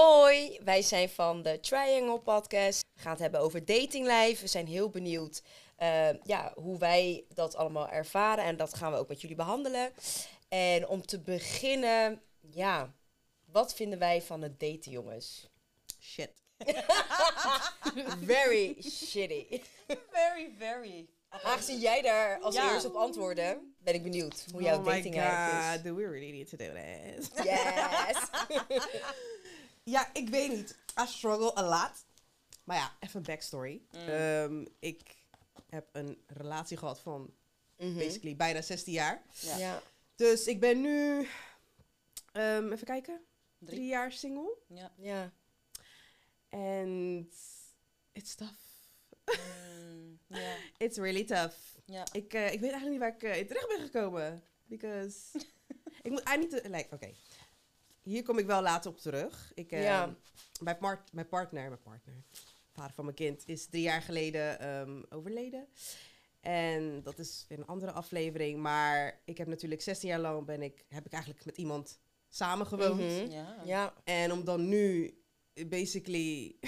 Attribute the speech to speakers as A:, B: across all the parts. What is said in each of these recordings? A: Hoi, wij zijn van de Triangle Podcast. We gaan het hebben over datinglife. We zijn heel benieuwd eh, ja, hoe wij dat allemaal ervaren. En dat gaan we ook met jullie behandelen. En om te beginnen, ja, wat vinden wij van het daten, jongens?
B: Shit.
A: Very shitty.
B: Very, very.
A: Aangezien jij daar als
B: Ja.
A: eerste op antwoordde, ben ik benieuwd hoe jouw
B: oh
A: dating
B: my god,
A: life
B: do we really need to do this?
A: is. Yes.
B: ja, ik weet niet. I struggle a lot. Maar ja, even backstory. Ehm, ik heb een relatie gehad van basically bijna 16 jaar.
A: ja. ja.
B: Dus ik ben nu, ehm, even kijken, drie.
C: Drie.
B: jaar single.
C: Ja.
A: Ja.
B: And it's tough.
C: Mm, ja.
B: It's really tough.
C: Ja.
B: Ik, eh, ik weet eigenlijk niet waar ik eh, in terecht ben gekomen. Because... ik moet eigenlijk... niet te- Like, Oké. Hier kom ik wel later op terug. Ik, eh,
A: Ja.
B: mijn, part, mijn partner... Mijn partner. Vader van mijn kind is drie jaar geleden ehm, overleden. En dat is weer een andere aflevering. Maar ik heb natuurlijk 16 jaar lang ben ik, heb ik eigenlijk met iemand samengewoond.
A: Mhm.
C: Ja.
A: Ja.
B: En om dan nu eh, basically...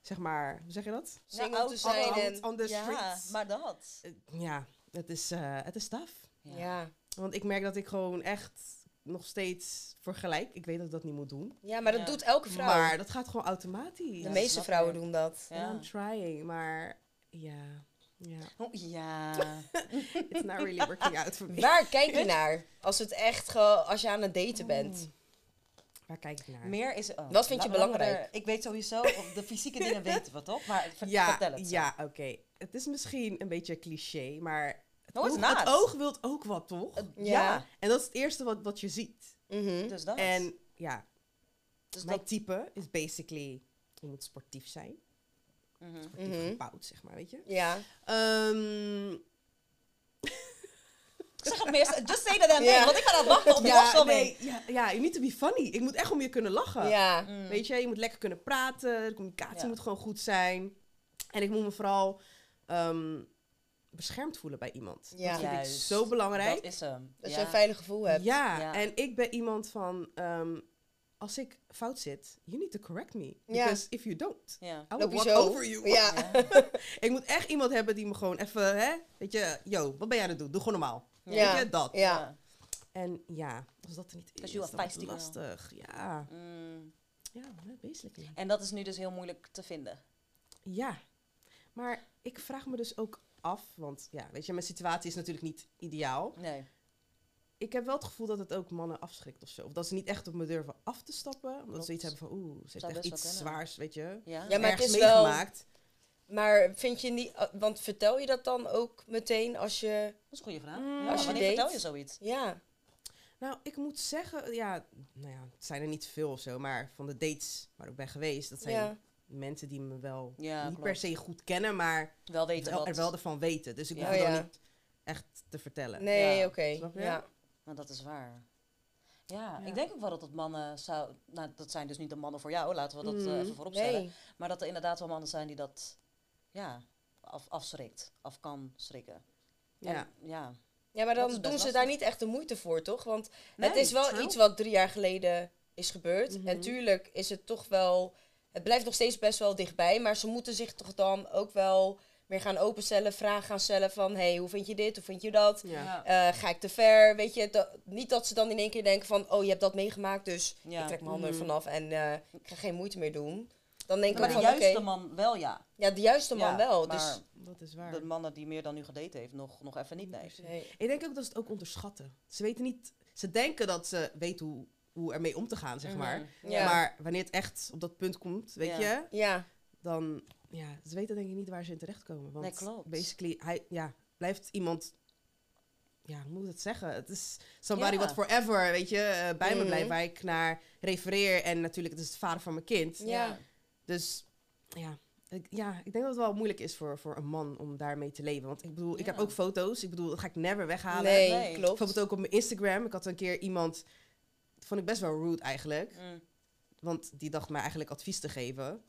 B: zeg maar... Hoe zeg je dat?
A: Single
C: oud-
A: te zijn
B: Out
A: en...
B: on the
C: Ja,
B: streets.
C: maar dat.
B: Eh, ja, het is, eh, het is tough.
A: Ja.
B: Want ik merk dat ik gewoon echt nog steeds vergelijk. Ik weet dat ik dat niet moet doen.
A: ja, maar dat
C: Ja.
A: doet elke vrouw.
B: Maar dat gaat gewoon automatisch.
A: De
C: Ja,
A: meeste
C: snap
A: vrouwen
C: ik.
A: doen dat.
C: Ja.
B: And I'm trying, maar ja. Ja,
C: Oh, ja.
B: it's not really working out for me.
A: Waar kijk je naar als, het echt ge- als je aan het daten bent?
B: Waar kijk ik naar?
C: Meer is... oh,
A: Wat vind je
C: la- laten we
A: belangrijk?
C: er- Ik weet sowieso, op de fysieke dingen weten we toch? Maar ver-
B: ja,
C: vertel het.
B: ja, oké. Het is misschien een beetje cliché, maar het,
C: Nou, het
B: oog,
C: is
B: het
C: naad.
B: oog wilt ook wat, toch?
C: Het-
A: Ja.
C: ja.
B: En dat is het eerste wat, wat je ziet.
A: Mhm.
C: dus dat.
B: En ja,
C: dus
B: mijn
C: dat,
B: type is basically, je moet sportief zijn.
C: Mhm.
B: Sportief
A: Mhm.
B: gebouwd, zeg maar, weet je.
A: Ja.
B: Ehm,
C: Zeg het meer, just say that and
A: Ja.
C: name, want ik ga dat wachten op de afstemming.
B: ja, ja, you need to be funny. Ik moet echt om je kunnen lachen.
A: Ja.
C: Mm.
B: Weet je, je moet lekker kunnen praten. De communicatie
C: Ja.
B: moet gewoon goed zijn. En ik moet me vooral ehm, beschermd voelen bij iemand.
A: Ja.
B: Dat vind
C: Juist.
B: ik zo belangrijk.
C: Dat is hem.
A: Dat
C: ja.
A: je een veilig gevoel hebt.
B: ja.
C: Ja.
B: en ik ben iemand van... ehm, als ik fout zit, you need to correct me.
A: Ja.
B: Because if you don't,
C: Ja.
B: I will
A: Loop je
B: walk
A: zo?
B: over you.
A: Ja.
C: Ja.
B: Ik moet echt iemand hebben die me gewoon even... Hè, weet je, yo, wat ben jij aan het doen? Doe gewoon normaal.
A: Ja.
B: Weet je, dat.
A: Ja.
B: En ja, als dat er niet
C: Dat
B: is,
C: je wel
B: dan is het
C: feisty girl.
B: lastig. Ja,
C: Mm.
B: ja, basically.
C: En dat is nu dus heel moeilijk te vinden.
B: Ja, maar ik vraag me dus ook af, want ja, weet je, mijn situatie is natuurlijk niet ideaal.
C: Nee.
B: Ik heb wel het gevoel dat het ook mannen afschrikt of zo. Of dat ze niet echt op me durven af te stappen, omdat
C: Klopt.
B: ze iets hebben van, oeh, ze heeft
C: Zou
B: echt
C: best wel
B: iets
C: kunnen.
B: zwaars, weet je.
C: Ja.
A: Ja, maar het
B: ergens
A: is wel-
B: meegemaakt.
A: Maar vind je niet... eh, Want vertel je dat dan ook meteen als je...
C: Dat is een goede vraag.
B: Mm.
C: Ja,
B: Als je
C: wanneer
A: date-
C: vertel je zoiets?
A: Ja.
B: Nou, ik moet zeggen, ja, nou ja, het zijn er niet veel of zo, maar van de dates waar ik ben geweest, dat zijn
A: Ja.
B: mensen die me wel
C: Ja,
B: niet
C: klopt.
B: per se goed kennen, maar
C: Wel weten
B: wel,
C: wat.
B: er wel ervan weten. Dus ik
C: Ja.
B: hoef het
A: Oh,
B: dan
A: ja.
B: niet echt te vertellen.
A: Nee,
C: Ja.
A: oké.
B: Snap je?
A: Ja.
C: Nou, dat is waar. Ja,
B: Ja.
C: ik denk ook wel dat dat mannen zou... Nou, dat zijn dus niet de mannen voor jou, laten we dat eh,
B: Mm.
C: even voorop stellen.
A: Nee.
C: Maar dat er inderdaad wel mannen zijn die dat ja, af, afschrikt, af kan schrikken. En,
B: Ja.
C: ja.
A: Ja, maar
C: Dat
A: dan
C: is
A: doen
C: best
A: ze
C: lastig.
A: daar niet echt de moeite voor, toch? Want het
B: Nee,
A: is wel
B: true.
A: iets wat drie jaar geleden is gebeurd.
B: Mhm.
A: En tuurlijk is het toch wel... Het blijft nog steeds best wel dichtbij. Maar ze moeten zich toch dan ook wel meer gaan openstellen. Vragen gaan stellen van... Hé, hey, hoe vind je dit? Hoe vind je dat?
B: Ja.
A: Eh, ga ik te ver? Weet je, dat- niet dat ze dan in één keer denken van... Oh, je hebt dat meegemaakt, dus
C: Ja.
A: ik trek mijn handen
B: Mhm.
A: ervan af en eh, ik ga geen moeite meer doen. Dan denk
C: maar
A: ik
C: de
A: ook van, oké...
C: juiste man wel, ja.
A: Ja, de juiste man
C: Ja,
A: wel.
C: maar
A: Dus,
B: Dat is waar.
C: de mannen die meer dan nu gedate heeft, nog, nog even niet, nee.
A: nee.
B: Ik denk ook dat ze het ook onderschatten. Ze weten niet... Ze denken dat ze weten hoe, hoe ermee om te gaan, zeg maar.
C: Mhm.
A: Ja.
B: Maar wanneer het echt op dat punt komt, weet
C: Ja.
B: je...
A: Ja,
B: Dan... Ja, ze weten denk ik niet waar ze in terechtkomen. Want
C: Nee, klopt.
B: basically, hij ja, blijft iemand... Ja, hoe moet ik dat zeggen? Het is somebody
C: Ja.
B: what forever, weet je, eh, bij me
A: Mhm.
B: blijft, waar ik naar refereer. En natuurlijk, het is het vader van mijn kind.
A: Ja.
B: Dus ja, ik, ja, ik denk dat het wel moeilijk is voor, voor een man om daarmee te leven. Want ik bedoel, ik heb
C: Ja.
B: ook foto's. Ik bedoel, dat ga ik never weghalen.
A: nee,
C: Nee.
A: klopt.
B: Bijvoorbeeld ook op mijn Instagram. Ik had een keer iemand, dat vond ik best wel rude eigenlijk.
C: Mm.
B: Want die dacht mij eigenlijk advies te geven.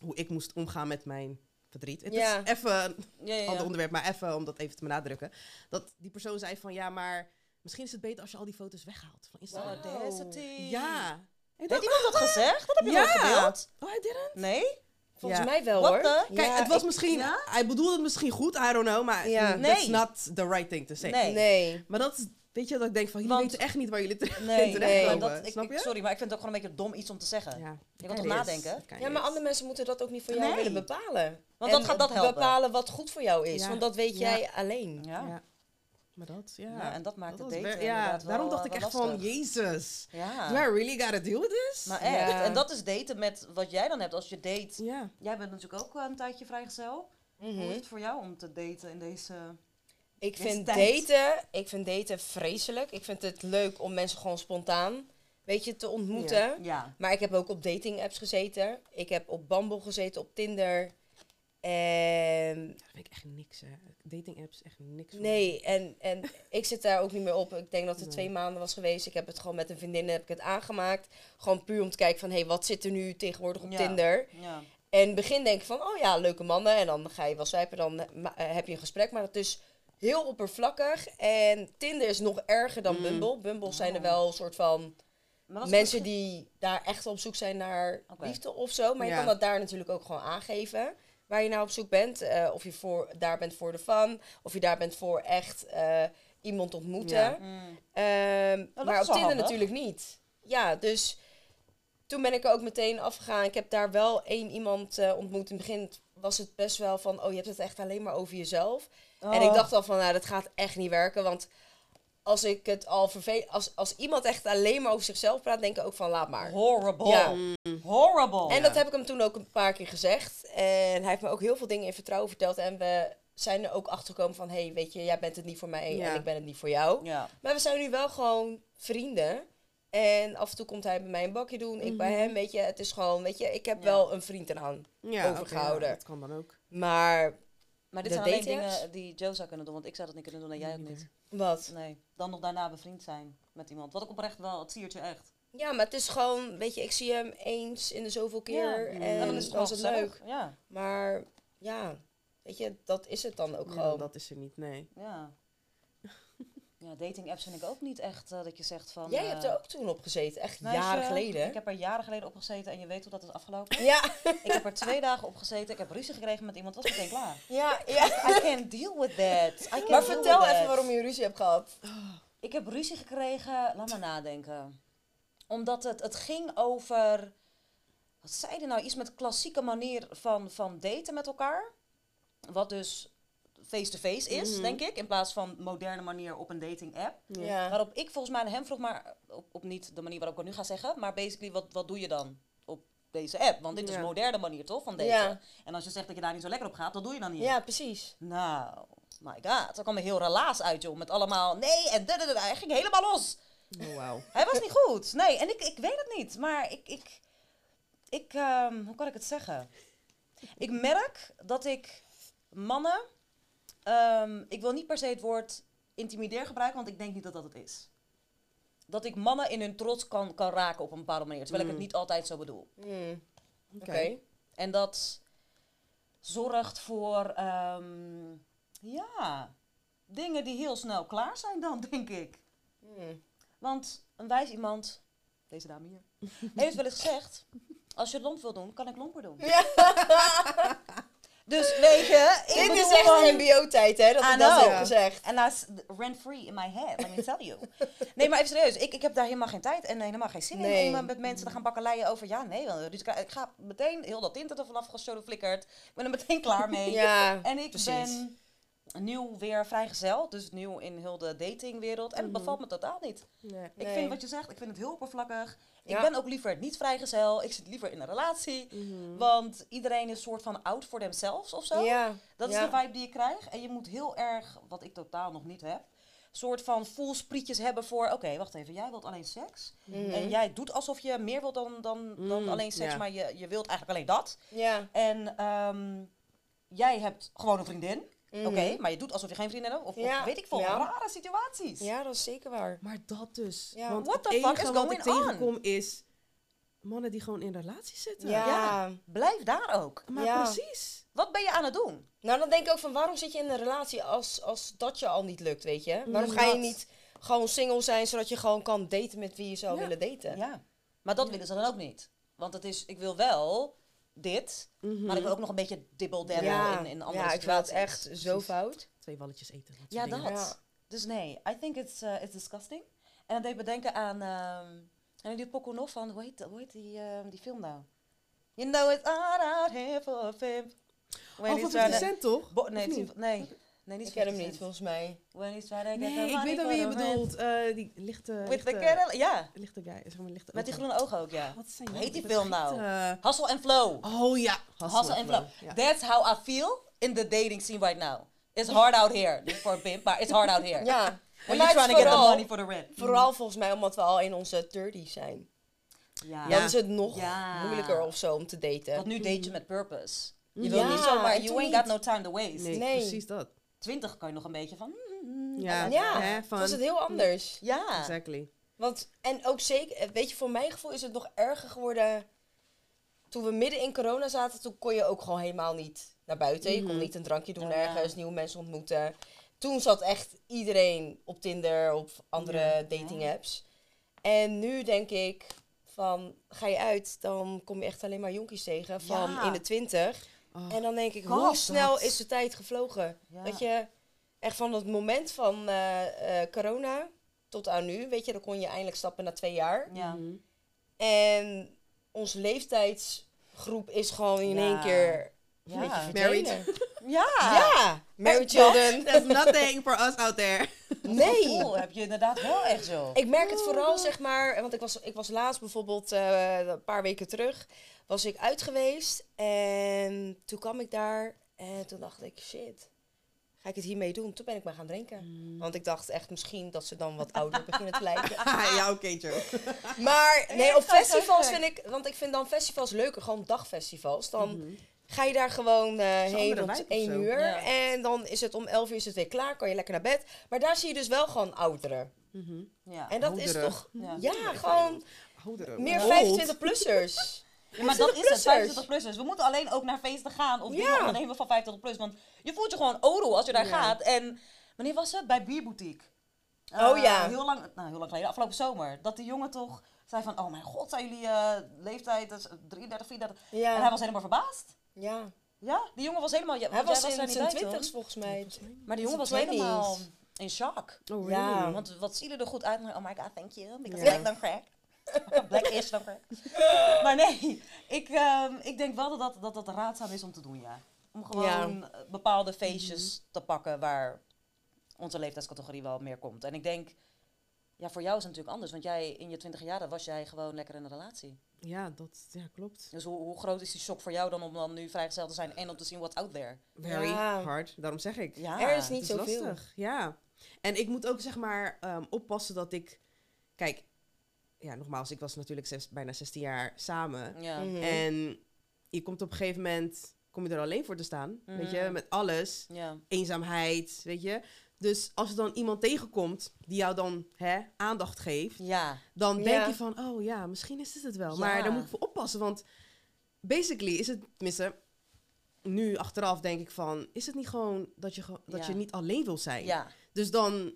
B: Hoe ik moest omgaan met mijn verdriet. Het
A: Ja.
B: is even een
C: Ja, ja,
B: ander
C: ja.
B: onderwerp, maar even om dat even te benadrukken. Dat die persoon zei van, ja, maar misschien is het beter als je al die foto's weghaalt van Instagram.
C: Wow,
A: Wow.
C: density.
B: Ja, Ik
C: Heeft
B: dacht,
C: iemand dat gezegd? Dat heb je
B: Ja.
C: wel gedeeld?
B: oh, hij did it.
C: Nee?
A: Volgens
B: Ja.
A: mij wel
C: What
A: hoor.
C: the-
B: Kijk,
A: Ja,
B: het was
A: ik-
B: misschien...
C: ja.
B: Hij bedoelde het misschien goed, I don't know. Maar
A: Ja.
B: that's
C: Nee.
B: not the right thing to say.
C: Nee.
A: Nee.
B: Maar dat is... Weet je, dat ik denk van, jullie
C: Want-
B: weten echt niet waar jullie terecht
C: Nee,
B: terecht
A: nee,
B: komen.
C: maar dat, ik,
B: Snap
C: ik-
B: je?
C: sorry, maar ik vind het ook gewoon een beetje dom iets om te zeggen.
B: Ja.
C: Je kan toch nadenken?
A: Ja, maar andere mensen moeten dat ook niet voor jou
C: Nee.
A: willen bepalen.
C: Want
A: En
C: dat gaat dat helpen.
A: bepalen wat goed voor jou is.
B: Ja.
A: Want dat weet
B: Ja.
A: jij alleen.
C: Ja. Ja.
B: Maar dat, ja.
C: en dat maakt
B: Dat
C: het
B: was
C: daten
B: wer- ja,
C: inderdaad
B: daarom
C: wel,
B: dacht ik
C: eh,
B: echt
C: wel
B: van,
C: lastig.
B: jezus.
C: Ja.
B: Do I really gotta deal with this?
C: Maar echt,
A: Ja.
C: en dat is daten met wat jij dan hebt als je date. Mhm.
B: ja.
C: Jij bent natuurlijk ook eh, een tijdje vrijgezel.
A: Mhm.
C: Hoe is het voor jou om te daten in deze...
A: Ik
C: Dit is
A: vind
C: tijd.
A: daten, ik vind daten vreselijk. Ik vind het leuk om mensen gewoon spontaan, weet je, te ontmoeten.
C: Ja.
A: Maar ik heb ook op dating apps gezeten. Ik heb op Bumble gezeten, op Tinder. En
B: Dat vind ik echt niks, hè. Dating apps, echt niks. voor me.
A: nee, en, en ik zit daar ook niet meer op. Ik denk dat het
B: Nee.
A: twee maanden was geweest. Ik heb het gewoon met een vriendin heb ik het aangemaakt. Gewoon puur om te kijken van, hé, hey, wat zit er nu tegenwoordig op
C: Ja.
A: Tinder?
C: ja.
A: En in het begin denk ik van, oh ja, leuke mannen. En dan ga je wel swipen, dan eh, ma- eh, heb je een gesprek. Maar dat is heel oppervlakkig. En Tinder is nog erger dan
C: Mm.
A: Bumble. Bumble zijn er
C: Oh.
A: wel een soort van
C: Maar was het
A: mensen
C: ook-
A: die daar echt op zoek zijn naar
C: Oké.
A: liefde of zo. Maar je
B: Ja.
A: kan dat daar natuurlijk ook gewoon aangeven. Waar je naar op zoek bent. Eh, of je voor, daar bent voor de fun. Of je daar bent voor echt eh, iemand ontmoeten.
B: Ja.
C: Mm.
A: Ehm,
C: dat
A: maar
C: is
A: op
C: wel
A: Tinder
C: handig.
A: natuurlijk niet. Ja, dus toen ben ik er ook meteen afgegaan. Ik heb daar wel één iemand eh, ontmoet. In het begin was het best wel van, oh, je hebt het echt alleen maar over jezelf. En ik
C: Oh.
A: dacht al van, nou, dat gaat echt niet werken. Want als ik het al vervel... Als, als iemand echt alleen maar over zichzelf praat, denk ik ook van, laat maar.
C: Horrible.
A: Ja.
C: Horrible.
A: En dat heb ik hem toen ook een paar keer gezegd. En hij heeft me ook heel veel dingen in vertrouwen verteld. En we zijn er ook achter gekomen van, hé, hey, weet je, jij bent het niet voor mij en
B: Ja.
A: ik ben het niet voor jou.
C: Ja.
A: Maar we zijn nu wel gewoon vrienden. En af en toe komt hij bij mij een bakje doen, ik
B: Mhm.
A: bij hem, weet je. Het is gewoon, weet je, ik heb
C: Ja.
A: wel een vriend eraan.
B: Ja, oké,
A: overgehouden.
B: ja, dat kan dan ook.
A: Maar,
C: Maar dit
A: De
C: zijn alleen
A: dating apps?
C: dingen die Joe zou kunnen doen, want ik zou dat niet kunnen doen en jij ook niet.
A: wat?
C: Nee. Dan nog daarna bevriend zijn met iemand. Wat ik oprecht wel, het siert je echt.
A: Ja, maar het is gewoon, weet je, ik zie hem eens in de zoveel keer.
B: Ja.
A: En, dan is het, was het
C: gewoon
A: leuk.
C: gezellig. Ja.
A: Maar, ja, weet je, dat is het dan ook
B: Ja,
A: gewoon.
B: dat is er niet, nee.
C: Ja. Ja, dating apps vind ik ook niet echt eh, dat je zegt van...
A: Jij
C: eh,
A: hebt er ook toen op gezeten, echt
C: meisje,
A: jaren geleden.
C: Ik heb er jaren geleden op gezeten en je weet hoe dat is afgelopen.
A: Ja,
C: ik heb er twee dagen op gezeten. Ik heb ruzie gekregen met iemand. Was meteen klaar.
A: ja, ja.
C: I can't deal with that. I can't
A: Maar
C: deal
A: vertel
C: with
A: even
C: that.
A: waarom je ruzie hebt gehad.
C: Ik heb ruzie gekregen. Laat maar nadenken. Omdat het, het ging over... Wat zei hij nou? Iets met klassieke manier van, van daten met elkaar. Wat dus face-to-face is,
B: Mhm.
C: denk ik. In plaats van moderne manier op een dating app.
A: Ja.
C: Waarop ik volgens mij aan hem vroeg, maar op, op niet de manier waarop ik het nu ga zeggen, maar basically, wat, wat doe je dan op deze app? Want dit is
B: Ja.
C: een moderne manier toch van daten.
A: Ja.
C: En als je zegt dat je daar niet zo lekker op gaat, dat doe je dan niet.
A: ja, precies.
C: Nou, my god, dan kwam een heel relaas uit joh, met allemaal nee en dadadada. Hij ging helemaal los.
B: Oh, wauw.
C: Hij was niet goed. Nee, en ik, ik weet het niet, maar ik, ik, ik ehm, hoe kan ik het zeggen? Ik merk dat ik mannen, ehm, ik wil niet per se het woord intimideer gebruiken, want ik denk niet dat dat het is. Dat ik mannen in hun trots kan, kan raken op een bepaalde manier, terwijl ik
B: Mm.
C: het niet altijd zo bedoel. Mm.
A: Hmm,
B: Oké.
A: Oké.
C: En dat zorgt voor, ehm, ja, dingen die heel snel klaar zijn dan, denk ik.
A: Hmm.
C: Want een wijs iemand, deze dame hier, heeft wel eens gezegd: Als je het lomp wil doen, kan ik lomper doen. Dus weet je, ik
A: Dit
C: bedoel
A: is dus echt
C: gewoon- Ah, nou.
A: MBO-tijd, hè? Dat
C: I
A: ik dat
C: know.
A: heb gezegd.
C: En dat is rent free in my head, let me tell you. Nee, maar even serieus, ik, ik heb daar helemaal geen tijd en helemaal geen zin
A: Nee.
C: in om eh, met mensen te gaan bakkeleien over. Ja, nee, wel, dus ik, ik ga meteen heel dat internet er vanaf geschoten flikkerd. Ik ben er meteen klaar mee.
A: Ja,
C: En ik
A: precies.
C: ben nieuw weer vrijgezel, dus nieuw in heel de datingwereld. En het bevalt me totaal niet.
B: Nee.
C: Ik
A: Mhm. Nee.
C: vind wat je zegt, ik vind het heel oppervlakkig.
A: Ja.
C: Ik ben ook liever niet vrijgezel. Ik zit liever in een relatie.
A: Mhm.
C: Want iedereen is soort van out for themselves of zo.
A: Ja.
C: Dat
A: ja.
C: is de vibe die je krijgt. En je moet heel erg, wat ik totaal nog niet heb, soort van full sprietjes hebben voor... Oké, wacht even, jij wilt alleen seks.
A: Mhm.
C: En jij doet alsof je meer wilt dan, dan, dan
B: Mm,
C: alleen seks,
B: ja.
C: maar je, je wilt eigenlijk alleen dat.
A: Ja.
C: En ehm, jij hebt gewoon een vriendin.
A: Mhm.
C: Oké, maar je doet alsof je geen vriendin hebt. Of, of
A: Ja,
C: weet ik veel,
A: ja.
C: rare situaties.
A: Ja, dat is zeker waar.
B: Maar dat dus.
A: Ja.
B: Want
C: What
B: het
C: the fuck
B: enige
C: is
B: wat ik
C: going on?
B: tegenkom is mannen die gewoon in relaties zitten.
A: Ja.
C: Ja. Blijf daar ook.
B: Maar
A: Ja.
B: precies.
C: Wat ben je aan het doen?
A: Nou, dan denk ik ook van waarom zit je in een relatie als, als dat je al niet lukt, weet je? Waarom
B: Mm,
A: ga je
C: dat.
A: niet gewoon single zijn zodat je gewoon kan daten met wie je zou
B: Ja.
A: willen daten?
C: Ja. Maar dat willen ze dan ook niet. Want het is, ik wil wel dit, maar ik wil ook nog een beetje dibbeldabble in, in
A: Mhm.
C: andere
A: ja ik vind het
C: situaties.
A: echt zo
B: Precies.
A: fout.
B: Twee walletjes eten. soort
C: Ja,
B: dingen.
C: dat.
A: Ja.
C: Dus nee, I think it's, eh, it's disgusting. En dat deed me denken aan, ehm aan die pokoe nog van, hoe heet, dat- hoe heet die, ehm, die film nou? You know it's all out here for a pimp. When
B: Oh,
C: he's
B: van
C: trying
B: 50
C: to-
B: cent toch?
C: Bo- nee,
B: Of
C: die-
B: niet?
C: nee, nee, niet
A: Ik ken hem
C: 50
A: niet,
C: cent.
A: volgens mij.
C: When he's trying to get the
B: Nee, ik
C: money
B: weet al
C: for
B: wie je
C: the rent.
B: bedoelt. Eh, die lichte...
C: With the
B: lichte-
C: kettle, ja.
B: Lichte guy, zeg maar lichte
C: Met die
B: ogen.
C: groene ogen ook, ja.
B: Wat zijn
C: Hoe
B: nou
C: heet die
B: de
C: film nou?
B: vergeten-
C: Hassel en flow.
B: Oh ja.
C: Hassel en flow. That's how I feel in the dating scene right now. It's hard out here. Niet voor een pimp, maar it's hard out here.
A: Ja.
C: When
A: Maar
C: you're
A: het
C: trying
A: is
C: to get the
A: vooral-
C: money for the rent.
A: Vooral volgens mij omdat we al in onze 30 zijn.
C: Ja.
A: Dan is het nog
C: Ja.
A: moeilijker of zo om te daten.
C: Want nu date je met purpose. Je
A: Eh, Ja,
C: wil niet zomaar,
A: en
C: you
A: toen
C: ain't got no time to waste.
B: Nee,
A: Nee.
B: precies dat.
C: Twintig kan je nog een beetje van... mm,
B: Ja,
A: Ja,
B: hè,
A: dat is
B: van...
A: het heel anders.
C: Ja.
B: Exactly.
A: Want, en ook zeker, eh, weet je, voor mijn gevoel is het nog erger geworden. Toen we midden in corona zaten, toen kon je ook gewoon helemaal niet naar buiten. Je kon niet een drankje doen
C: Mhm. Ja.
A: ergens, nieuwe mensen ontmoeten. Toen zat echt iedereen op Tinder, op andere dating apps. En nu denk ik van, ga je uit, dan kom je echt alleen maar jonkies tegen van
C: Ja.
A: in de twintig.
B: Oh.
A: en dan denk ik,
C: God,
A: hoe
C: dat-
A: snel is de tijd gevlogen?
C: Ja.
A: Dat je echt van het moment van eh, eh, corona tot aan nu, weet je, dan kon je eindelijk stappen na twee jaar.
C: Ja.
B: Mhm.
A: En onze leeftijdsgroep is gewoon in
C: Ja.
A: één keer
C: Ja.
A: een beetje
B: Married.
A: verdwenen.
C: Ja.
A: Ja, Ah. married
B: Echt, dat-
A: children.
B: That's nothing for us out there.
A: Nee.
C: Cool, heb je inderdaad wel echt zo.
A: Ik merk het
B: Oh.
A: vooral, zeg maar, want ik was, ik was laatst bijvoorbeeld eh, een paar weken terug, was ik uit geweest en toen kwam ik daar en toen dacht ik, shit, ga ik het hiermee doen? Toen ben ik maar gaan drinken.
B: Hmm.
A: Want ik dacht echt misschien dat ze dan wat ouder beginnen te lijken.
B: ja, oké, Joe.
A: Maar nee,
C: Ja,
A: op
C: dat is
A: festivals
C: ook
A: vind ik, want ik vind dan festivals leuker, gewoon dagfestivals. Dan ga je daar gewoon eh,
B: Mhm. een
A: heen
B: andere
A: rond
B: vibe of
A: 1
B: zo.
A: uur
C: Ja.
A: en dan is het om 11 uur is het weer klaar, kan je lekker naar bed. Maar daar zie je dus wel gewoon ouderen.
C: Ja.
A: En dat is
B: Ouderen.
A: toch,
C: Ja.
A: ja, gewoon meer 25-plussers.
C: Ja, maar dat is het,
A: 25-plussers.
C: 25 plussers. We moeten alleen ook naar feesten gaan of dingen
A: Ja.
C: ondernemen van 50 plus. Want je voelt je gewoon odel als je daar
B: Ja.
C: gaat. En wanneer was het? Bij Bierboutique. Eh,
A: Oh ja.
C: Heel lang, nou, heel lang geleden, afgelopen zomer. Dat die jongen toch zei van, oh mijn god, zijn jullie eh, leeftijd dat is 33, 34. En hij
A: Ja.
C: was helemaal verbaasd.
A: ja,
C: Ja, die jongen was helemaal... Ja,
A: hij
C: want jij
A: was
C: daar
A: in
C: niet
A: zijn
C: bij toen.
A: twintig's volgens mij.
C: Maar die jongen was
A: zijn 20's.
C: helemaal in shock.
B: Oh,
A: Ja.
B: really?
A: Mm.
C: Want wat zie je er goed uit? Maar, Oh my god, thank you. Because
B: Ja.
C: black don't crack. black is don't crack. maar nee, ik, ehm, ik denk wel dat dat, dat dat raadzaam is om te doen, ja. Om gewoon eh, bepaalde feestjes te pakken waar onze leeftijdscategorie wel meer komt. En ik denk, ja, voor jou is het natuurlijk anders. Want jij, in je twintig jaren was jij gewoon lekker in een relatie.
B: Ja, dat ja, klopt.
C: Dus hoe, hoe groot is die shock voor jou dan om dan nu vrijgezel te zijn en om te zien what's out there?
B: Very
A: Ja.
B: hard, daarom zeg ik.
C: Ja,
A: er is
B: Het
A: niet
B: is
A: zoveel.
B: lastig, ja. En ik moet ook zeg maar ehm, oppassen dat ik... Kijk, ja, nogmaals, ik was natuurlijk zes- bijna 16 jaar samen.
C: Ja.
A: Mhm.
B: En je komt op een gegeven moment... Kom je er alleen voor te staan, weet je?
C: Mhm.
B: Met alles.
C: Ja.
B: Eenzaamheid, weet je? Dus als je dan iemand tegenkomt die jou dan hè, aandacht geeft...
C: Ja.
B: dan
A: Ja.
B: denk je van, oh ja, misschien is dit het wel.
C: Ja.
B: Maar daar moet ik voor oppassen, want basically is het, tenminste, nu achteraf denk ik van, is het niet gewoon dat je, ge- dat
C: Ja.
B: je niet alleen wil zijn?
C: Ja.
B: Dus dan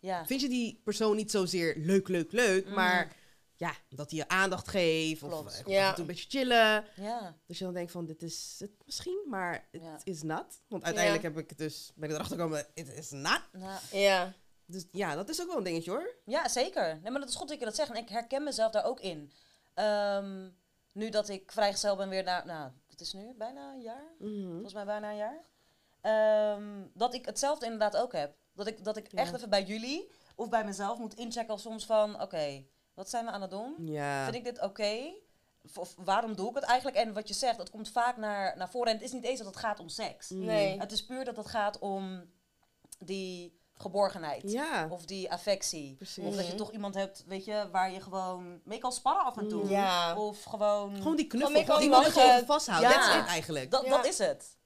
C: Ja.
B: vind je die persoon niet zozeer leuk, leuk, leuk,
C: Mm.
B: maar ja, dat hij je aandacht geeft
C: Klopt.
B: of eh,
A: Ja.
B: af en toe een beetje chillen.
C: Ja.
B: Dus je dan denkt van, dit is het misschien, maar het
C: Ja.
B: is not. Want uiteindelijk heb ik het dus, ben ik erachter gekomen, het is not.
C: Nou,
A: Ja,
B: Dus ja, dat is ook wel een dingetje hoor.
C: Ja, zeker. Nee, maar dat is goed dat je dat zegt. En ik herken mezelf daar ook in. Ehm, nu dat ik vrijgezel ben weer na... Nou, het is nu bijna een jaar.
B: Hm?
C: Volgens mij bijna een jaar. Ehm, dat ik hetzelfde inderdaad ook heb. Dat ik, dat ik
B: Ja.
C: echt even bij jullie of bij mezelf moet inchecken soms van... Oké, wat zijn we aan het doen?
B: Ja.
C: Vind ik dit oké? Of- Of waarom doe ik het eigenlijk? En wat je zegt, dat komt vaak naar, naar voren. En het is niet eens dat het gaat om seks.
B: Mm.
A: nee.
C: Het is puur dat het gaat om die geborgenheid.
B: Ja.
C: Of die affectie.
B: Precies.
C: Of dat je
A: Mhm.
C: toch iemand hebt, weet je, waar je gewoon mee kan sparren af en toe.
A: Ja.
C: Of gewoon...
B: Gewoon die knuffel,
A: Van,
B: gewoon die
A: ik kan
B: knuffel
A: mag,
B: gewoon
A: eh,
B: vasthouden.
C: ja.
B: Dat is het eigenlijk.
C: dat,
A: Ja.
C: dat is het.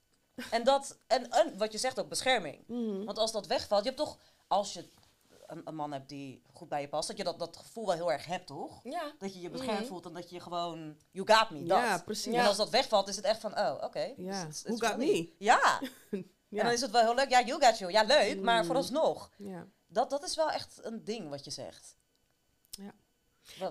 C: En, dat, en, en wat je zegt ook, bescherming. Want als dat wegvalt, je hebt toch... Als je een, een man hebt die goed bij je past, dat je dat, dat gevoel wel heel erg hebt, toch?
A: Ja.
C: Dat je je beschermd
A: Mhm.
C: voelt en dat je gewoon... You got me, dat.
B: Ja, precies.
A: Ja.
C: En als dat wegvalt, is het echt van, oh, oké. dus
B: Ja.
C: het is-
B: Who
C: het is
B: got
C: really-
B: me?
C: Ja.
B: Ja.
C: En dan is het wel heel leuk. Ja, you got you. Ja, leuk. Maar
B: Mm.
C: vooralsnog,
B: ja.
C: dat, dat is wel echt een ding wat je zegt. Wat-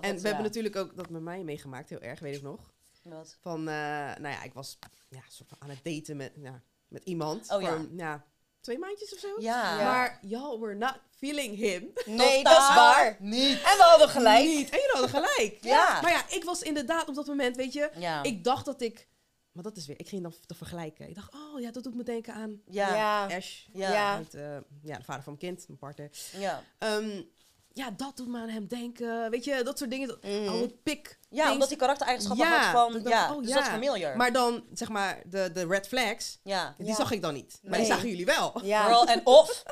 B: En
C: wat-
B: we hebben
C: ja.
B: natuurlijk ook dat met mij meegemaakt, heel erg, weet ik nog.
C: Wat?
B: Van, eh, nou ja, ik was ja, soort van aan het daten met, ja, met iemand.
C: Oh ja.
B: voor, ja, twee maandjes of zo.
C: Ja.
B: Maar y'all were not feeling him.
A: Nee, dat is
C: Totaal
A: waar.
C: Niet. En we hadden gelijk.
B: Niet. En jullie hadden gelijk.
C: Ja.
B: Maar ja, ik was inderdaad op dat moment, weet je,
C: Ja.
B: ik dacht dat ik. Maar dat is weer, ik ging dan te vergelijken. Ik dacht, oh ja, dat doet me denken aan
C: ja. Ja.
B: Ash.
C: Ja.
A: Ja.
B: Uit, eh, ja, de vader van mijn kind, mijn partner.
C: Ja.
B: Ehm, ja, dat doet me aan hem denken. Weet je, dat soort dingen. Dat, Al het pik. things.
C: omdat die karaktereigenschappen
B: Ja,
C: had van...
B: dat ik
C: ja,
B: dacht, oh,
C: dus
B: ja.
C: dat is familiar.
B: Maar dan, zeg maar, de, de red flags,
C: ja.
B: die
A: Ja.
B: zag ik dan niet. Maar
A: Nee.
B: die zagen jullie wel.
A: Ja.
C: Girl en of.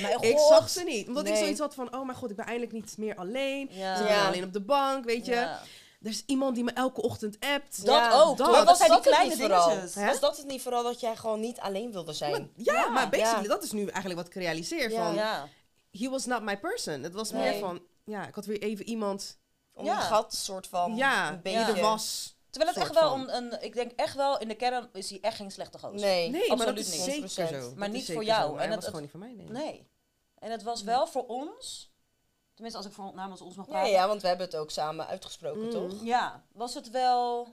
C: Mijn god.
B: Ik zag ze niet. Omdat ik
A: Nee.
B: zoiets had van, oh mijn god, ik ben eindelijk niet meer alleen.
C: Ja.
B: Ze zijn
A: Ja.
B: alleen op de bank, weet je.
C: Ja.
B: Er is iemand die me elke ochtend appt.
C: Dat
A: Ja,
C: ook.
B: dat.
C: Maar wat
B: Was
C: zijn die
A: dat het
C: kleine
A: niet vooral?
C: dingetjes?
B: Hè?
A: Was dat het niet vooral dat jij gewoon niet alleen wilde zijn?
B: Ja, maar basically,
A: Ja.
B: dat is nu eigenlijk wat ik realiseer.
A: Ja.
B: Van,
C: Ja.
B: he was not my person. Het was meer
A: Nee.
B: van, ja, ik had weer even iemand
A: Om
C: Ja.
A: een gat soort van.
B: ja,
A: een
B: die
A: beetje.
B: er was.
C: Terwijl het
B: Soort
C: echt wel
B: van.
C: een, een... Ik denk echt wel, in de kern is hij echt geen slechte gozer.
A: Nee.
B: Nee, maar dat
C: absoluut
B: is
C: niet.
B: zeker
A: 100%.
B: zo.
C: Maar
B: Dat
C: niet
B: is
C: voor
B: zeker
C: jou.
B: zo, maar
C: En
B: hij
C: dat-
B: was gewoon
C: dat-
B: niet voor mij, nee.
C: Nee. En het was wel voor ons... Tenminste, als ik voor, namens ons mag
A: Ja,
C: praten.
A: ja, want we hebben het ook samen uitgesproken,
B: Mm.
A: toch?
C: Ja, was het wel.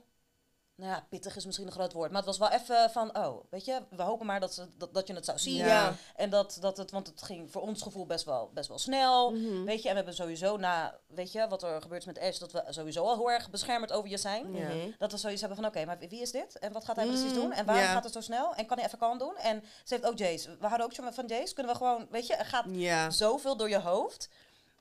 C: Nou ja, pittig is misschien een groot woord. Maar het was wel even van, oh, weet je, we hopen maar dat, ze, dat, dat je het zou zien.
B: Ja.
C: En dat, dat het, want het ging voor ons gevoel best wel, best wel snel.
B: Mhm.
C: Weet je, en we hebben sowieso na, weet je, wat er gebeurd is met Ash, dat we sowieso al heel erg beschermd over je zijn.
B: Ja.
A: Mhm.
C: Dat we zoiets hebben van, oké, maar wie is dit? En wat gaat hij precies
B: Mm,
C: doen? En waarom
B: ja.
C: gaat het zo snel? En kan hij even kalm doen? En ze heeft ook Jace. We houden ook zo van Jace. Kunnen we gewoon, weet je, er gaat
B: Ja.
C: zoveel door je hoofd.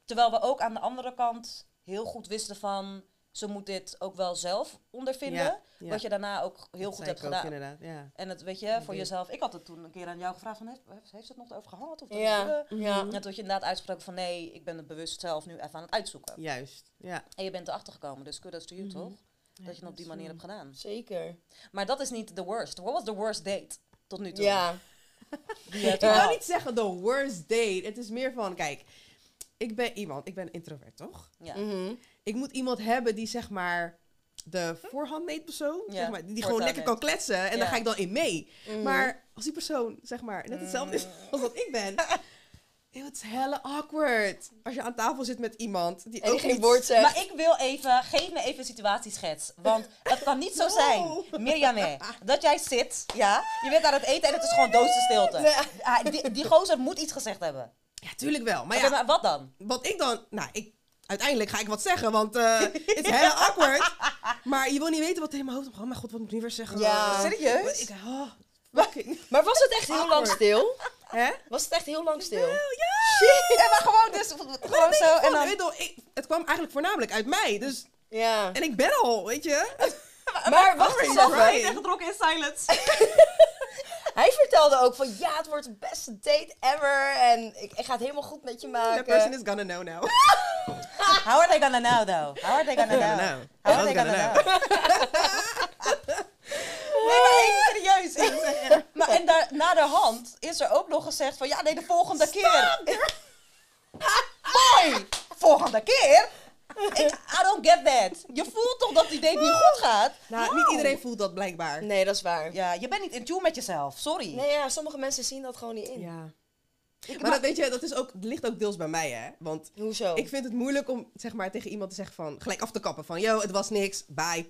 C: Terwijl we ook aan de andere kant heel goed wisten van... ze moet dit ook wel zelf ondervinden.
B: Ja, ja.
C: Wat je daarna ook heel
B: Dat
C: goed
B: zei
C: hebt
B: ik ook
C: gedaan.
B: inderdaad, ja.
C: En het weet je, voor
B: Ja.
C: jezelf... Ik had het toen een keer aan jou gevraagd van... heeft, heeft ze het nog over gehad? Of dat
A: Ja.
C: eh?
A: Ja.
C: En toen had je inderdaad uitgesproken van... nee, ik ben het bewust zelf nu even aan het uitzoeken.
B: Juist, ja. Mhm.
C: En je bent erachter gekomen, dus kudos to you, toch? Dat je het op die
B: is eh,
C: manier
B: wel-
C: hebt gedaan.
A: Zeker.
C: Maar dat is niet the worst. What was the worst date tot nu toe?
A: Ja.
C: Die je hebt
A: Ja.
B: Ik
C: gehad?
B: wil niet zeggen the worst date. Het is meer van, kijk, ik ben iemand, ik ben introvert, toch?
C: Ja.
A: Mhm.
B: Ik moet iemand hebben die zeg maar de voorhand neemt persoon,
C: Ja,
B: zeg maar, die gewoon
C: voortaan
B: lekker kan
C: neemt.
B: kletsen en
C: Ja.
B: daar ga ik dan in mee.
A: Mhm.
B: Maar als die persoon zeg maar net hetzelfde is als wat ik ben, eeuw, het is helle awkward. Als je aan tafel zit met iemand die
A: En
B: ook
A: die geen
B: niet-
A: woord zegt.
C: Maar ik wil even, geef me even een situatieschets. Want het kan niet zo zijn, Mirjam, dat jij zit, ja, je bent aan het eten en het is gewoon doodse stilte. Ah, die, die gozer moet iets gezegd hebben.
B: Ja, tuurlijk wel. Maar ja,
C: Maar, maar wat dan?
B: wat ik dan, nou, ik, uiteindelijk ga ik wat zeggen, want eh, het is heel awkward. Maar je wil niet weten wat er in mijn hoofd omgaat. Oh mijn god, wat moet ik nu weer zeggen?
A: Ja.
C: Serieus?
B: Ik, oh, fucking.
A: Maar was het echt heel lang stil?
B: Hè?
A: Was het echt heel lang stil?
C: Ja, maar gewoon dus, gewoon zo en
B: En
C: dan...
B: weet je wel, ik, het kwam eigenlijk voornamelijk uit mij. Dus,
A: Ja.
B: en ik ben al, weet je.
A: Maar wacht eens
B: Sorry.
A: even.
B: Brian.
C: gedronken in silence.
A: Hij vertelde ook van ja, het wordt de beste date ever. En ik, ik ga het helemaal goed met je
B: That person
A: maken.
B: is gonna know now.
C: How are they gonna know though? How are they gonna
B: Gonna
C: know?
B: know.
C: How are they
B: Gonna
C: gonna
B: know.
C: know? Nee, maar even serieus. Ik- maar en daar, na de hand is er ook nog gezegd van ja, nee, de volgende keer. Mooi! Volgende keer? Ik, I don't get that. Je voelt toch dat die date niet goed gaat?
B: Nou, niet iedereen voelt dat blijkbaar.
A: Nee, dat is waar.
C: Ja, je bent niet in tune met jezelf, sorry.
A: Nee, ja, sommige mensen zien dat gewoon niet in.
B: Ja. maar dat, weet je, dat, is ook, dat ligt ook deels bij mij, hè. Want
A: Hoezo?
C: Oh.
B: ik vind het moeilijk om zeg maar, tegen iemand te zeggen van... Gelijk af te kappen van, yo, het was niks, bye.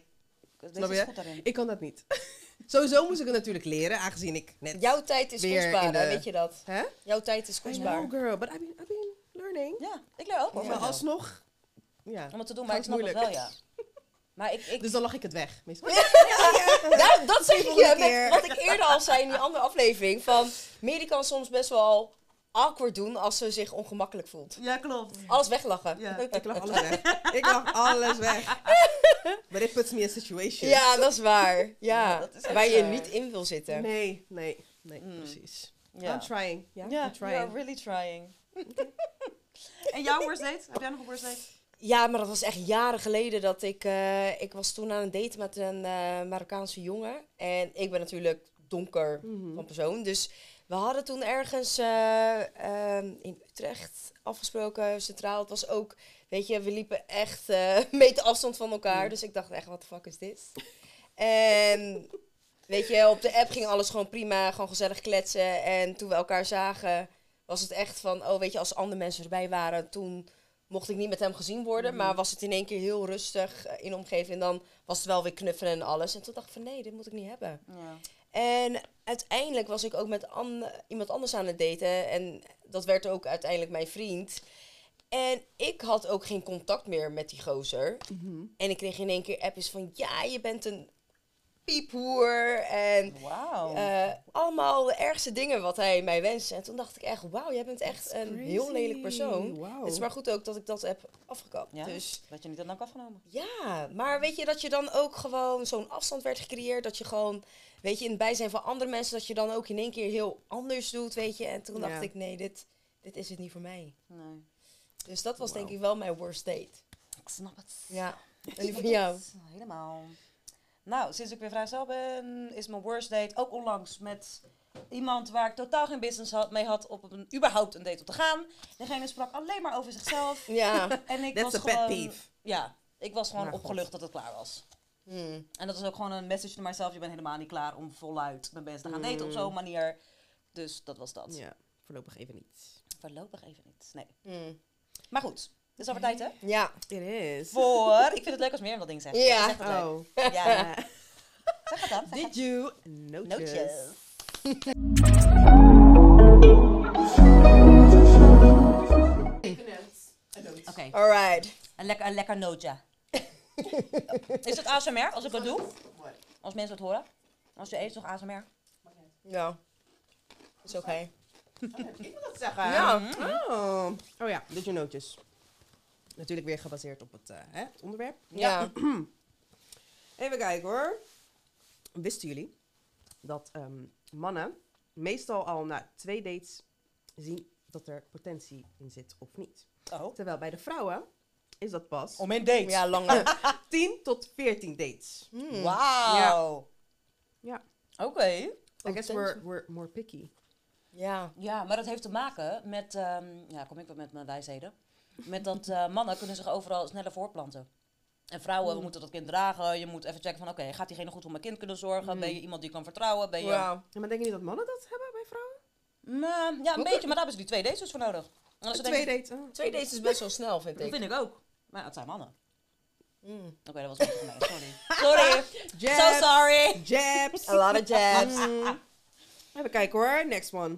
C: Wees
B: Snap
C: eens
B: je?
C: goed daarin.
B: Ik kan dat niet. Sowieso moest ik het natuurlijk leren, aangezien ik net...
A: Jouw tijd is
B: Weer
A: kostbaar,
B: in de-
A: hè, weet je dat?
B: Hè?
A: Jouw tijd is
B: I
A: kostbaar.
B: know, girl, but I've been, I've been learning.
C: Ja, ik leer ook hoor.
B: Maar
C: van jou.
B: alsnog... Ja.
C: Om het te doen, maar ik
B: Gaat
C: snap het wel,
B: moeilijk.
C: ja. Maar ik, ik
B: Dus dan lag ik het weg. Meestal.
A: Nou, dat zeg ik
B: Volgende
A: je
B: keer.
A: met wat ik eerder al zei in die andere aflevering. Van, Mary kan soms best wel awkward doen als ze zich ongemakkelijk voelt.
C: Ja, klopt.
A: Alles weglachen. Ja,
C: Ja.
B: Ik lag alles weg. Ik lag alles weg. But it puts me in a situation.
A: dat is waar. Ja,
C: Ja, dat is echt
A: waar je
C: waar.
A: niet in wil zitten.
B: Nee, nee, nee,
C: Mm.
B: precies.
C: Ja.
B: I'm trying. Ja,
C: Ja,
B: I'm
C: you are
B: trying.
C: really trying. en jouw worst date? Heb jij nog een worst date?
A: Ja, maar dat was echt jaren geleden dat ik... eh, ik was toen aan een date met een eh, Marokkaanse jongen. En ik ben natuurlijk donker
B: Mhm.
A: van persoon. Dus we hadden toen ergens eh, ehm, in Utrecht afgesproken, centraal. Het was ook, weet je, we liepen echt eh meter afstand van elkaar. Dus ik dacht echt, wat de fuck is dit? en weet je, op de app ging alles gewoon prima, gewoon gezellig kletsen. En toen we elkaar zagen, was het echt van, oh weet je, als andere mensen erbij waren, toen mocht ik niet met hem gezien worden.
B: Mhm.
A: Maar was het in één keer heel rustig eh, in de omgeving. En dan was het wel weer knuffelen en alles. En toen dacht ik van nee, dit moet ik niet hebben.
C: Ja.
A: En uiteindelijk was ik ook met an- iemand anders aan het daten. En dat werd ook uiteindelijk mijn vriend. En ik had ook geen contact meer met die gozer. En ik kreeg in één keer appjes van... Ja, je bent een piephoer. En
C: Wauw.
B: Oh.
A: eh, allemaal de ergste dingen wat hij mij wenste. En toen dacht ik echt... Wauw, jij bent echt een heel lelijk persoon. Het is maar goed ook dat ik dat heb afgekapt.
C: Ja.
A: Dus
C: Dat je niet dat nou afgenomen.
A: ja, maar weet je dat je dan ook gewoon zo'n afstand werd gecreëerd? Dat je gewoon, weet je, in het bijzijn van andere mensen, dat je dan ook in één keer heel anders doet, weet je? En toen
B: Ja.
A: dacht ik, nee, dit, dit is het niet voor mij.
C: Nee.
A: Dus dat was denk
B: Wauw.
A: ik wel mijn worst date.
C: Ik snap het.
A: Ja, en
C: Ik
A: die
C: snap
A: van jou.
C: het. Helemaal. Nou, sinds ik weer vrijgezel ben, is mijn worst date ook onlangs met iemand waar ik totaal geen business had, mee had op een, überhaupt een date op te gaan. Degene sprak alleen maar over zichzelf.
A: Ja.
C: En ik
B: That's a
C: was
B: pet
C: gewoon,
B: peeve.
C: Ja, ik was gewoon
B: Maar god.
C: opgelucht dat het klaar was.
A: Hmm.
C: En dat is ook gewoon een message naar mijzelf. Je bent helemaal niet klaar om voluit met mensen te gaan daten op
B: Mm.
C: zo'n manier. Dus dat was dat.
B: Ja, voorlopig even niet.
C: Voorlopig even niet. Nee.
A: Hmm.
C: Maar goed, het is over tijd hè?
A: Ja.
B: It is.
C: Voor. Ik vind het leuk als meer dat ding zegt.
A: Ja.
C: Zeg het leuk.
B: Oh.
C: Ja. Zeg het dan. Zeg het.
B: Did you notice?
C: Nootjes. Oké,
A: Alright.
C: een lekker, een lekker nootje. is het ASMR als ik dat doe? Als mensen het horen? Als je eet, toch ASMR?
A: Ja. Is oké.
B: Ik moet dat zeggen.
A: Ja.
B: Oh. oh ja, dit je nootjes. Natuurlijk weer gebaseerd op het, eh, hè, het onderwerp.
A: Ja.
B: Even kijken hoor. Wisten jullie dat ehm, mannen meestal al na twee dates zien dat er potentie in zit of niet?
C: Oh.
B: Terwijl bij de vrouwen is dat pas
C: Om een date.
A: Ja, langer.
B: 10 tot 14 dates.
A: Hmm.
C: Wauw.
B: Ja.
C: Oké.
B: I guess we're, we're more picky.
A: Ja.
C: Ja, maar dat heeft te maken met, ehm, ja, kom ik wel met mijn wijsheden. Met dat eh, mannen kunnen zich overal sneller voorplanten. En vrouwen, we moeten dat kind dragen. Je moet even checken van, oké, gaat diegene goed voor mijn kind kunnen zorgen? Ben je iemand die ik kan vertrouwen? Ben je...
A: Ja.
B: Ja, maar denk je niet dat mannen dat hebben bij vrouwen?
C: Nou, ja, een beetje, maar daar hebben ze die twee dates dus voor nodig. En als ze
B: twee
C: denken,
B: dates. oh.
A: Twee dates is best wel snel, vind
C: dat
A: ik.
C: vind ik ook. Maar ja, het zijn mannen.
A: Hmm.
C: Oké, dat was een beetje gemeen, sorry. Sorry. so
B: Jabs.
C: sorry.
B: Jabs.
A: A lot of jabs.
B: Mm. Even kijken hoor, next one.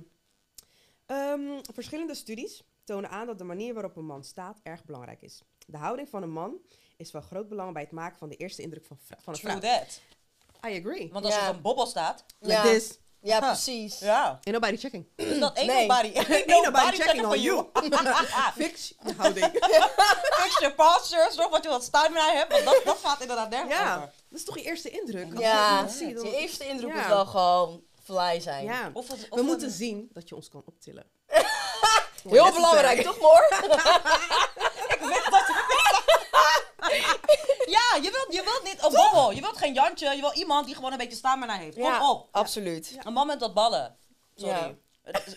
B: Ehm, verschillende studies tonen aan dat de manier waarop een man staat erg belangrijk is. De houding van een man is van groot belang bij het maken van de eerste indruk van, vrou- van een
C: True
B: vrouw.
C: that.
B: I agree.
C: Want als
A: Ja.
C: er een bobbel staat...
B: Like
A: Ja.
B: this.
A: Ja,
C: Huh.
A: precies.
C: Ja.
B: Ain't nobody checking.
C: Dus dat ain't
A: Nee.
C: nobody. Ain't
B: Ain't nobody checking on you. Fix je houding.
C: Fix je postures, zorg dat je wat stamina hebt, want dat, dat gaat inderdaad nergens
B: ja,
C: over.
B: dat is toch je eerste indruk? Als je
A: Ja,
B: iemand ziet, dan-
A: je eerste indruk
B: Ja.
A: moet wel gewoon fly zijn.
B: ja.
C: Of het- of
B: We
C: een-
B: moeten zien dat je ons kan optillen.
A: Heel belangrijk, toch, Moor?
C: Ja, je wilt, je wilt niet een bobbel, je wilt geen Jantje, je wilt iemand die gewoon een beetje stamina heeft. Kom
A: Ja,
C: op.
A: absoluut.
C: Een man met dat ballen. Sorry.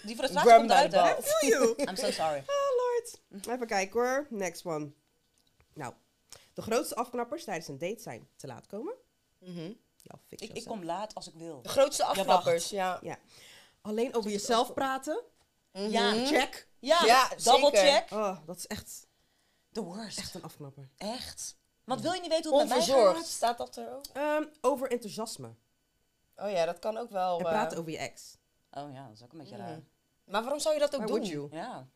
C: Die frustratie
A: Grab
C: komt
A: by
C: uit,
A: the
C: hè?
A: balls.
B: Feel you.
C: I'm so sorry.
B: Oh lord. Even kijken hoor. Next one. Nou, de grootste afknappers tijdens een date zijn te laat komen.
A: Mhm.
B: Ja, fix
C: Ik, ik
B: yourself.
C: kom laat als ik wil.
A: De grootste afknappers, ja.
B: Alleen over jezelf praten.
C: Ja.
A: Mhm.
B: Check.
C: Ja,
A: Ja, zeker.
C: double check.
B: Oh, dat is echt,
C: The worst.
B: echt een afknapper.
C: Echt. Want wil je niet weten hoe het met mij
A: Onverzorgd,
C: gaat?
A: staat dat er ook?
B: Ehm, over enthousiasme.
A: Oh ja, dat kan ook wel.
B: en
A: eh,
B: praten over je ex.
C: Oh ja, dat is ook een beetje raar.
A: Maar waarom zou je dat ook
B: Why
A: doen?
B: would you?
C: Ja.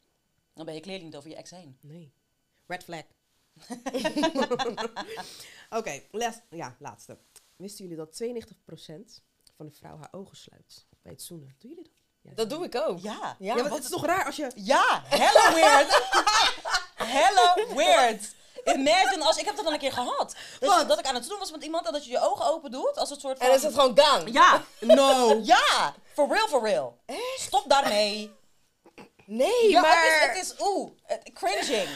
C: Dan ben je clearly niet over je ex heen.
B: Nee. Red flag. Oké, les- ja, laatste. Wisten jullie dat 92% van de vrouw haar ogen sluit bij het zoenen? Doen jullie dat? Ja,
A: Dat doe ik ook.
C: Ja.
A: Ja,
B: Ja, maar
A: want-
B: het is toch raar als je...
C: Ja, hello weird. hello weird. Imagine als ik heb dat al een keer gehad. Dus
B: Wat?
C: dat ik aan het doen was met iemand en dat je je ogen open doet als het soort
A: En
C: van.
A: dan is het gewoon gang.
C: Ja,
B: No!
C: ja, for real, for real. Stop daarmee.
A: Nee,
C: Ja,
A: maar...
C: het, is, het is oeh, eh, cringing.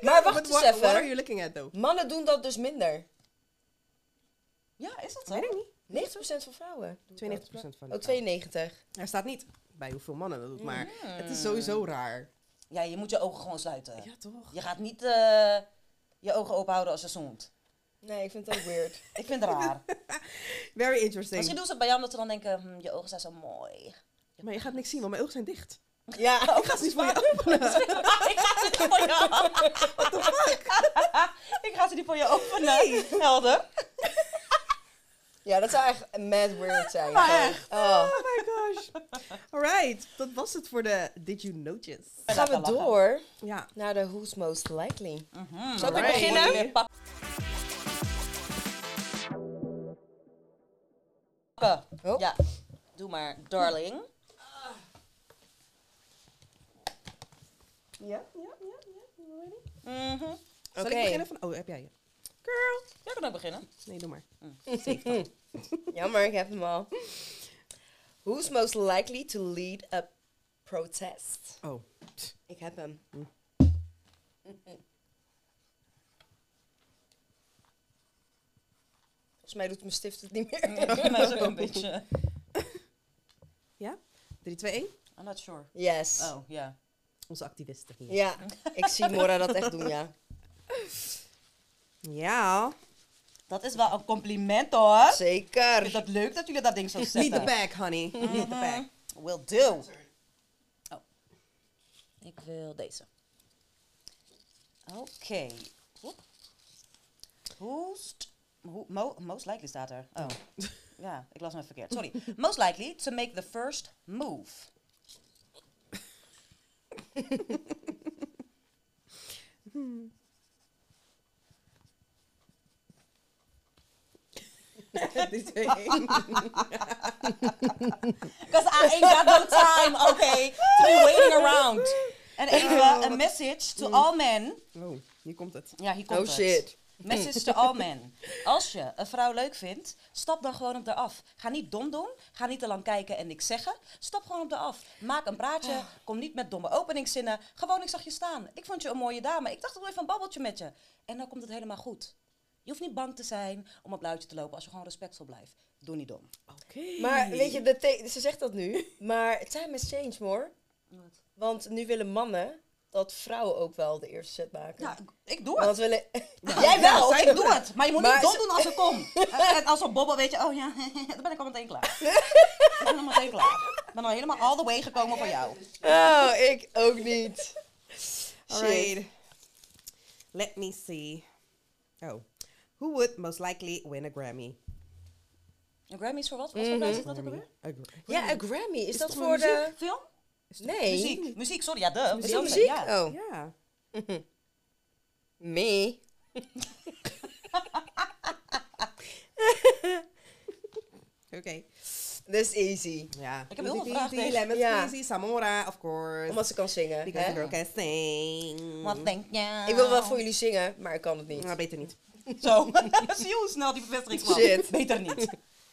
A: Maar wacht eens
B: what,
A: even.
B: What are you looking at though?
A: Mannen doen dat dus minder. 90%
C: Ja, is dat zo?
B: Weet ik niet.
A: van vrouwen.
B: 92% van de vrouwen.
A: Oh, 92.
B: Er staat niet bij hoeveel mannen dat doet, maar het is sowieso raar.
C: Ja, je moet je ogen gewoon sluiten.
B: Ja, toch?
C: Je gaat niet eh, je ogen open houden als je zoent.
A: Nee, ik vind het ook weird.
C: Ik vind het raar.
B: Very interesting.
C: Misschien doen ze het bij jou omdat ze dan denken, hm, je ogen zijn zo mooi.
B: Maar je gaat niks zien, want mijn ogen zijn dicht.
A: Ja,
B: Ik ga ze niet voor je openen.
C: ik ga ze niet voor je openen. ik ga ze niet voor je openen. Helder.
A: ja dat zou echt mad weird zijn.
B: Maar
A: Gewoon,
B: echt.
A: oh.
B: Oh my gosh. Alright, dat was het voor de Did You Notice.
A: Gaan we door
B: Ja.
A: naar de Who's Most Likely.
C: Mhm.
A: Zal ik
B: Alright.
A: beginnen?
C: Weer pakken.
A: Oh.
C: Ja, doe maar, darling.
B: Ja, ja, ja. ja.
C: Mhm.
B: Zal
A: Oké.
B: ik beginnen van... Oh, heb jij je? Girl.
C: Jij kan ook beginnen.
B: Nee, doe maar.
A: Jammer, ik heb hem al. Who's most likely to lead a protest?
B: Oh.
A: Ik heb hem. Volgens mij doet mijn stift het niet meer.
C: Maar is ook een beetje.
B: Ja? 3, 2, 1.
C: I'm not sure.
A: Yes.
C: Oh, ja.
B: Onze activisten hier.
A: Ja, ik zie Mora dat echt doen, ja.
B: Ja.
C: Dat is wel een compliment hoor. Ik vind
A: Zeker.
C: dat leuk dat jullie dat ding zo
B: Need the
C: zetten.
B: bag, honey. Need the bag.
C: Will do. Oh. Ik wil deze. Oké. Oep. Most, ho- mo- most likely staat er. Oh. ja, ik las hem even verkeerd. Sorry. Most likely to make the first move.
B: Drie, twee, één.
C: Because I ain't got no time, okay, to be waiting around. En even een message to all men.
B: Oh, hier komt het.
C: Ja, hier komt
A: Oh
C: het.
A: shit.
C: Message to all men. Als je een vrouw leuk vindt, stap dan gewoon op haar af. Ga niet dom doen, ga niet te lang kijken en niks zeggen. Stap gewoon op haar af. Maak een praatje,
A: Ah.
C: kom niet met domme openingszinnen. Gewoon, ik zag je staan. Ik vond je een mooie dame. Ik dacht, ik wil even een babbeltje met je. En dan komt het helemaal goed. Je hoeft niet bang te zijn om op luidje te lopen als je gewoon respectvol blijft. Doe niet dom.
B: Oké.
A: Maar weet je, de the- ze zegt dat nu, maar time has changed, Mor. Want nu willen mannen dat vrouwen ook wel de eerste set maken.
C: Ja, ik- ik doe het.
A: Want we willen...
C: Jij wel,
B: zij
C: ik doe het. Maar je moet
A: Maar
C: niet dom
A: ze-
C: doen als ik kom. En- en als we bobbel, weet je, oh ja, dan ben ik al meteen klaar. Dan ben ik al meteen klaar. Ik ben al helemaal all the way gekomen voor jou.
A: Oh, ik ook niet. Shit.
B: Alright. Let me see. Oh. Who would most likely win a Grammy?
C: Een Grammy is voor wat? Wat voor prijs is dat ook alweer?
B: A gr-
A: Ja, een Grammy. Is, dat
B: toch
A: voor de...
C: Film?
A: Nee.
C: Muziek. Muziek, sorry. Ja, de.
A: Is dat
C: Beyoncé,
A: muziek?
C: ja.
A: Oh.
B: Ja.
A: Me.
B: Oké.
A: That's easy.
B: Ja.
C: Ik heb heel veel
B: Die-
C: vragen
B: die
C: tegen.
B: Lemons
A: Ja.
B: Crazy, Samora, of course.
A: Omdat ze kan zingen.
B: Because
A: hè?
B: the girl can sing.
C: Wat denk je?
A: Ik wil wel voor jullie zingen, maar ik kan het
B: Nou,
A: niet.
B: beter niet.
C: Zo. Zie je hoe snel die bevestiging kwam?
A: Shit.
C: Beter niet.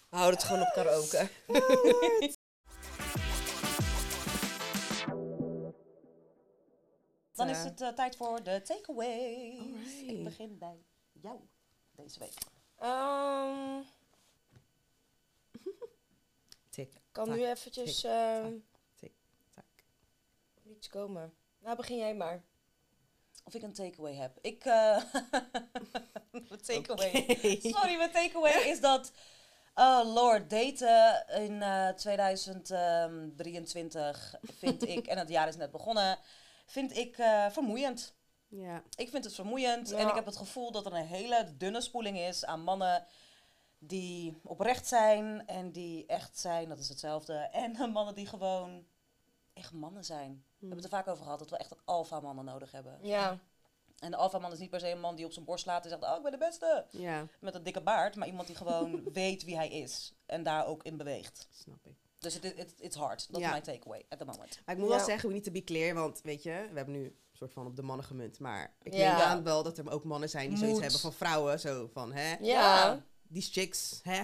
A: Houd het gewoon op karaoke.
C: Dan is het eh, tijd voor de takeaways.
B: Alright.
C: Ik begin bij jou deze week.
A: Ehm,
B: Tik,
A: kan
B: Tak,
A: nu eventjes ehm,
B: tak.
A: iets komen. Nou, begin jij maar.
C: Of ik een takeaway heb. Ik. eh mijn takeaway. Sorry, mijn takeaway is dat. Oh lord, daten in eh, 2023 vind ik, en het jaar is net begonnen, vind ik eh, vermoeiend.
B: Ja.
C: Ik vind het vermoeiend en
A: Ja.
C: ik heb het gevoel dat er een hele dunne spoeling is aan mannen die oprecht zijn en die echt zijn, dat is hetzelfde. En mannen die gewoon echt mannen zijn. We hebben het er vaak over gehad dat we echt alfa mannen nodig hebben.
B: Oh.
A: Ja.
C: En de alfaman is niet per se een man die op zijn borst slaat en zegt, oh, ik ben de beste.
B: Ja,
C: Met een dikke baard, maar iemand die gewoon weet wie hij is. En daar ook in beweegt.
B: snap ik.
C: Dus het is it, it's hard. Dat
B: Ja.
C: is mijn takeaway at the moment.
B: Maar ik moet
A: Ja.
B: wel zeggen, we niet te be clear, want weet je, we hebben nu een soort van op de mannen gemunt. Maar ik
A: Ja.
B: neem aan wel dat er ook mannen zijn die zoiets
C: Moet.
B: hebben van vrouwen. Zo van, hè,
A: Ja.
B: die chicks, hè,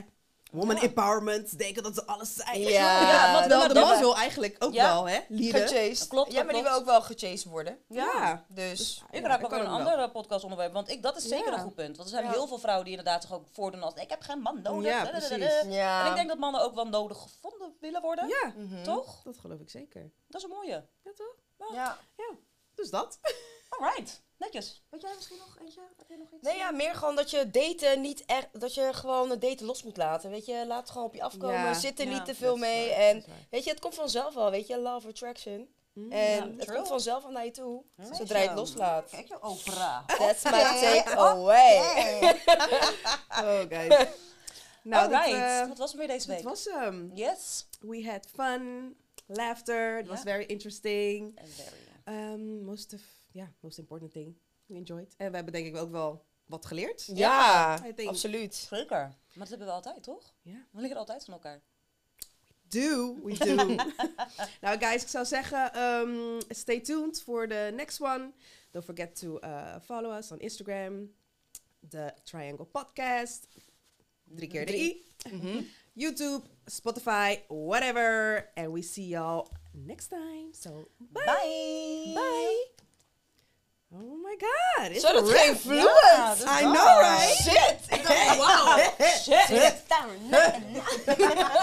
B: woman empowerment, denken dat ze alles zijn.
A: Ja.
C: Ja, want
B: Terwijl de
C: we- we-
B: man
C: we-
B: wil eigenlijk ook
C: Ja.
B: wel, hè, leaden.
A: Gechased.
C: Klopt,
A: Ja, maar die
C: klopt.
A: wil ook wel gechased worden.
B: Ja.
A: Dus...
C: Ik
B: Ja,
C: raak
B: dat
C: ook wel
B: kan
C: een
B: ook
C: ander eh, podcastonderwerp. Want ik, dat is zeker
B: Ja.
C: een goed punt. Want er zijn
A: Ja.
C: heel veel vrouwen die inderdaad zich ook voordoen als... Ik heb geen man nodig.
B: Ja,
C: dadadadada.
B: precies.
A: Ja.
C: En ik denk dat mannen ook wel nodig gevonden willen worden.
B: Ja,
A: Mhm.
C: Toch?
B: dat geloof ik zeker.
C: Dat is een mooie.
B: Ja, toch?
A: Ja.
B: Dus dat.
C: Alright. Netjes. Weet jij misschien nog eentje? Heb jij nog iets?
A: Nee, ja, meer gewoon dat je daten niet echt... Dat je gewoon het daten los moet laten. Weet je, laat het gewoon op je afkomen.
B: Ja.
A: Zit er
C: Ja.
A: niet te
B: Dat
A: veel
B: is
A: mee.
B: waar,
A: En
B: dat is waar.
A: weet je, het komt vanzelf wel. Weet je, love attraction. En
C: Mm, Ja,
A: het
C: true.
A: komt vanzelf al naar je toe,
C: Ja.
A: zodra je het loslaat.
C: Kijk je opera.
A: That's my take away.
B: Oh, guys. nou, dat,
C: Alright,
B: eh,
C: dat was hem weer deze
B: dat
C: week.
B: was hem.
C: Yes.
B: We had fun, laughter. It was
C: Ja.
B: very interesting.
C: And very, yeah.
B: Um, most of, yeah, most important thing. We enjoyed. En we hebben denk ik ook wel wat geleerd.
A: Ja,
B: I think-
A: absoluut.
C: Zeker. Maar dat hebben we altijd, toch?
B: Ja.
C: We liggen altijd van elkaar.
B: Do, we do. nou guys, ik zou zeggen, ehm, stay tuned voor de next one. Don't forget to eh, follow us on Instagram. The Triangle Podcast. Drie keer de i.
A: Mhm.
B: YouTube, Spotify, whatever. And we see y'all next time. So, bye.
C: Bye. Bye.
B: Oh my god. It's
A: Zo, dat
B: a
A: geen
B: wrap.
A: vloed.
C: Ja, dat
B: I
C: was-
B: know, right?
A: Shit!
C: Wow. Shit.
A: Shit.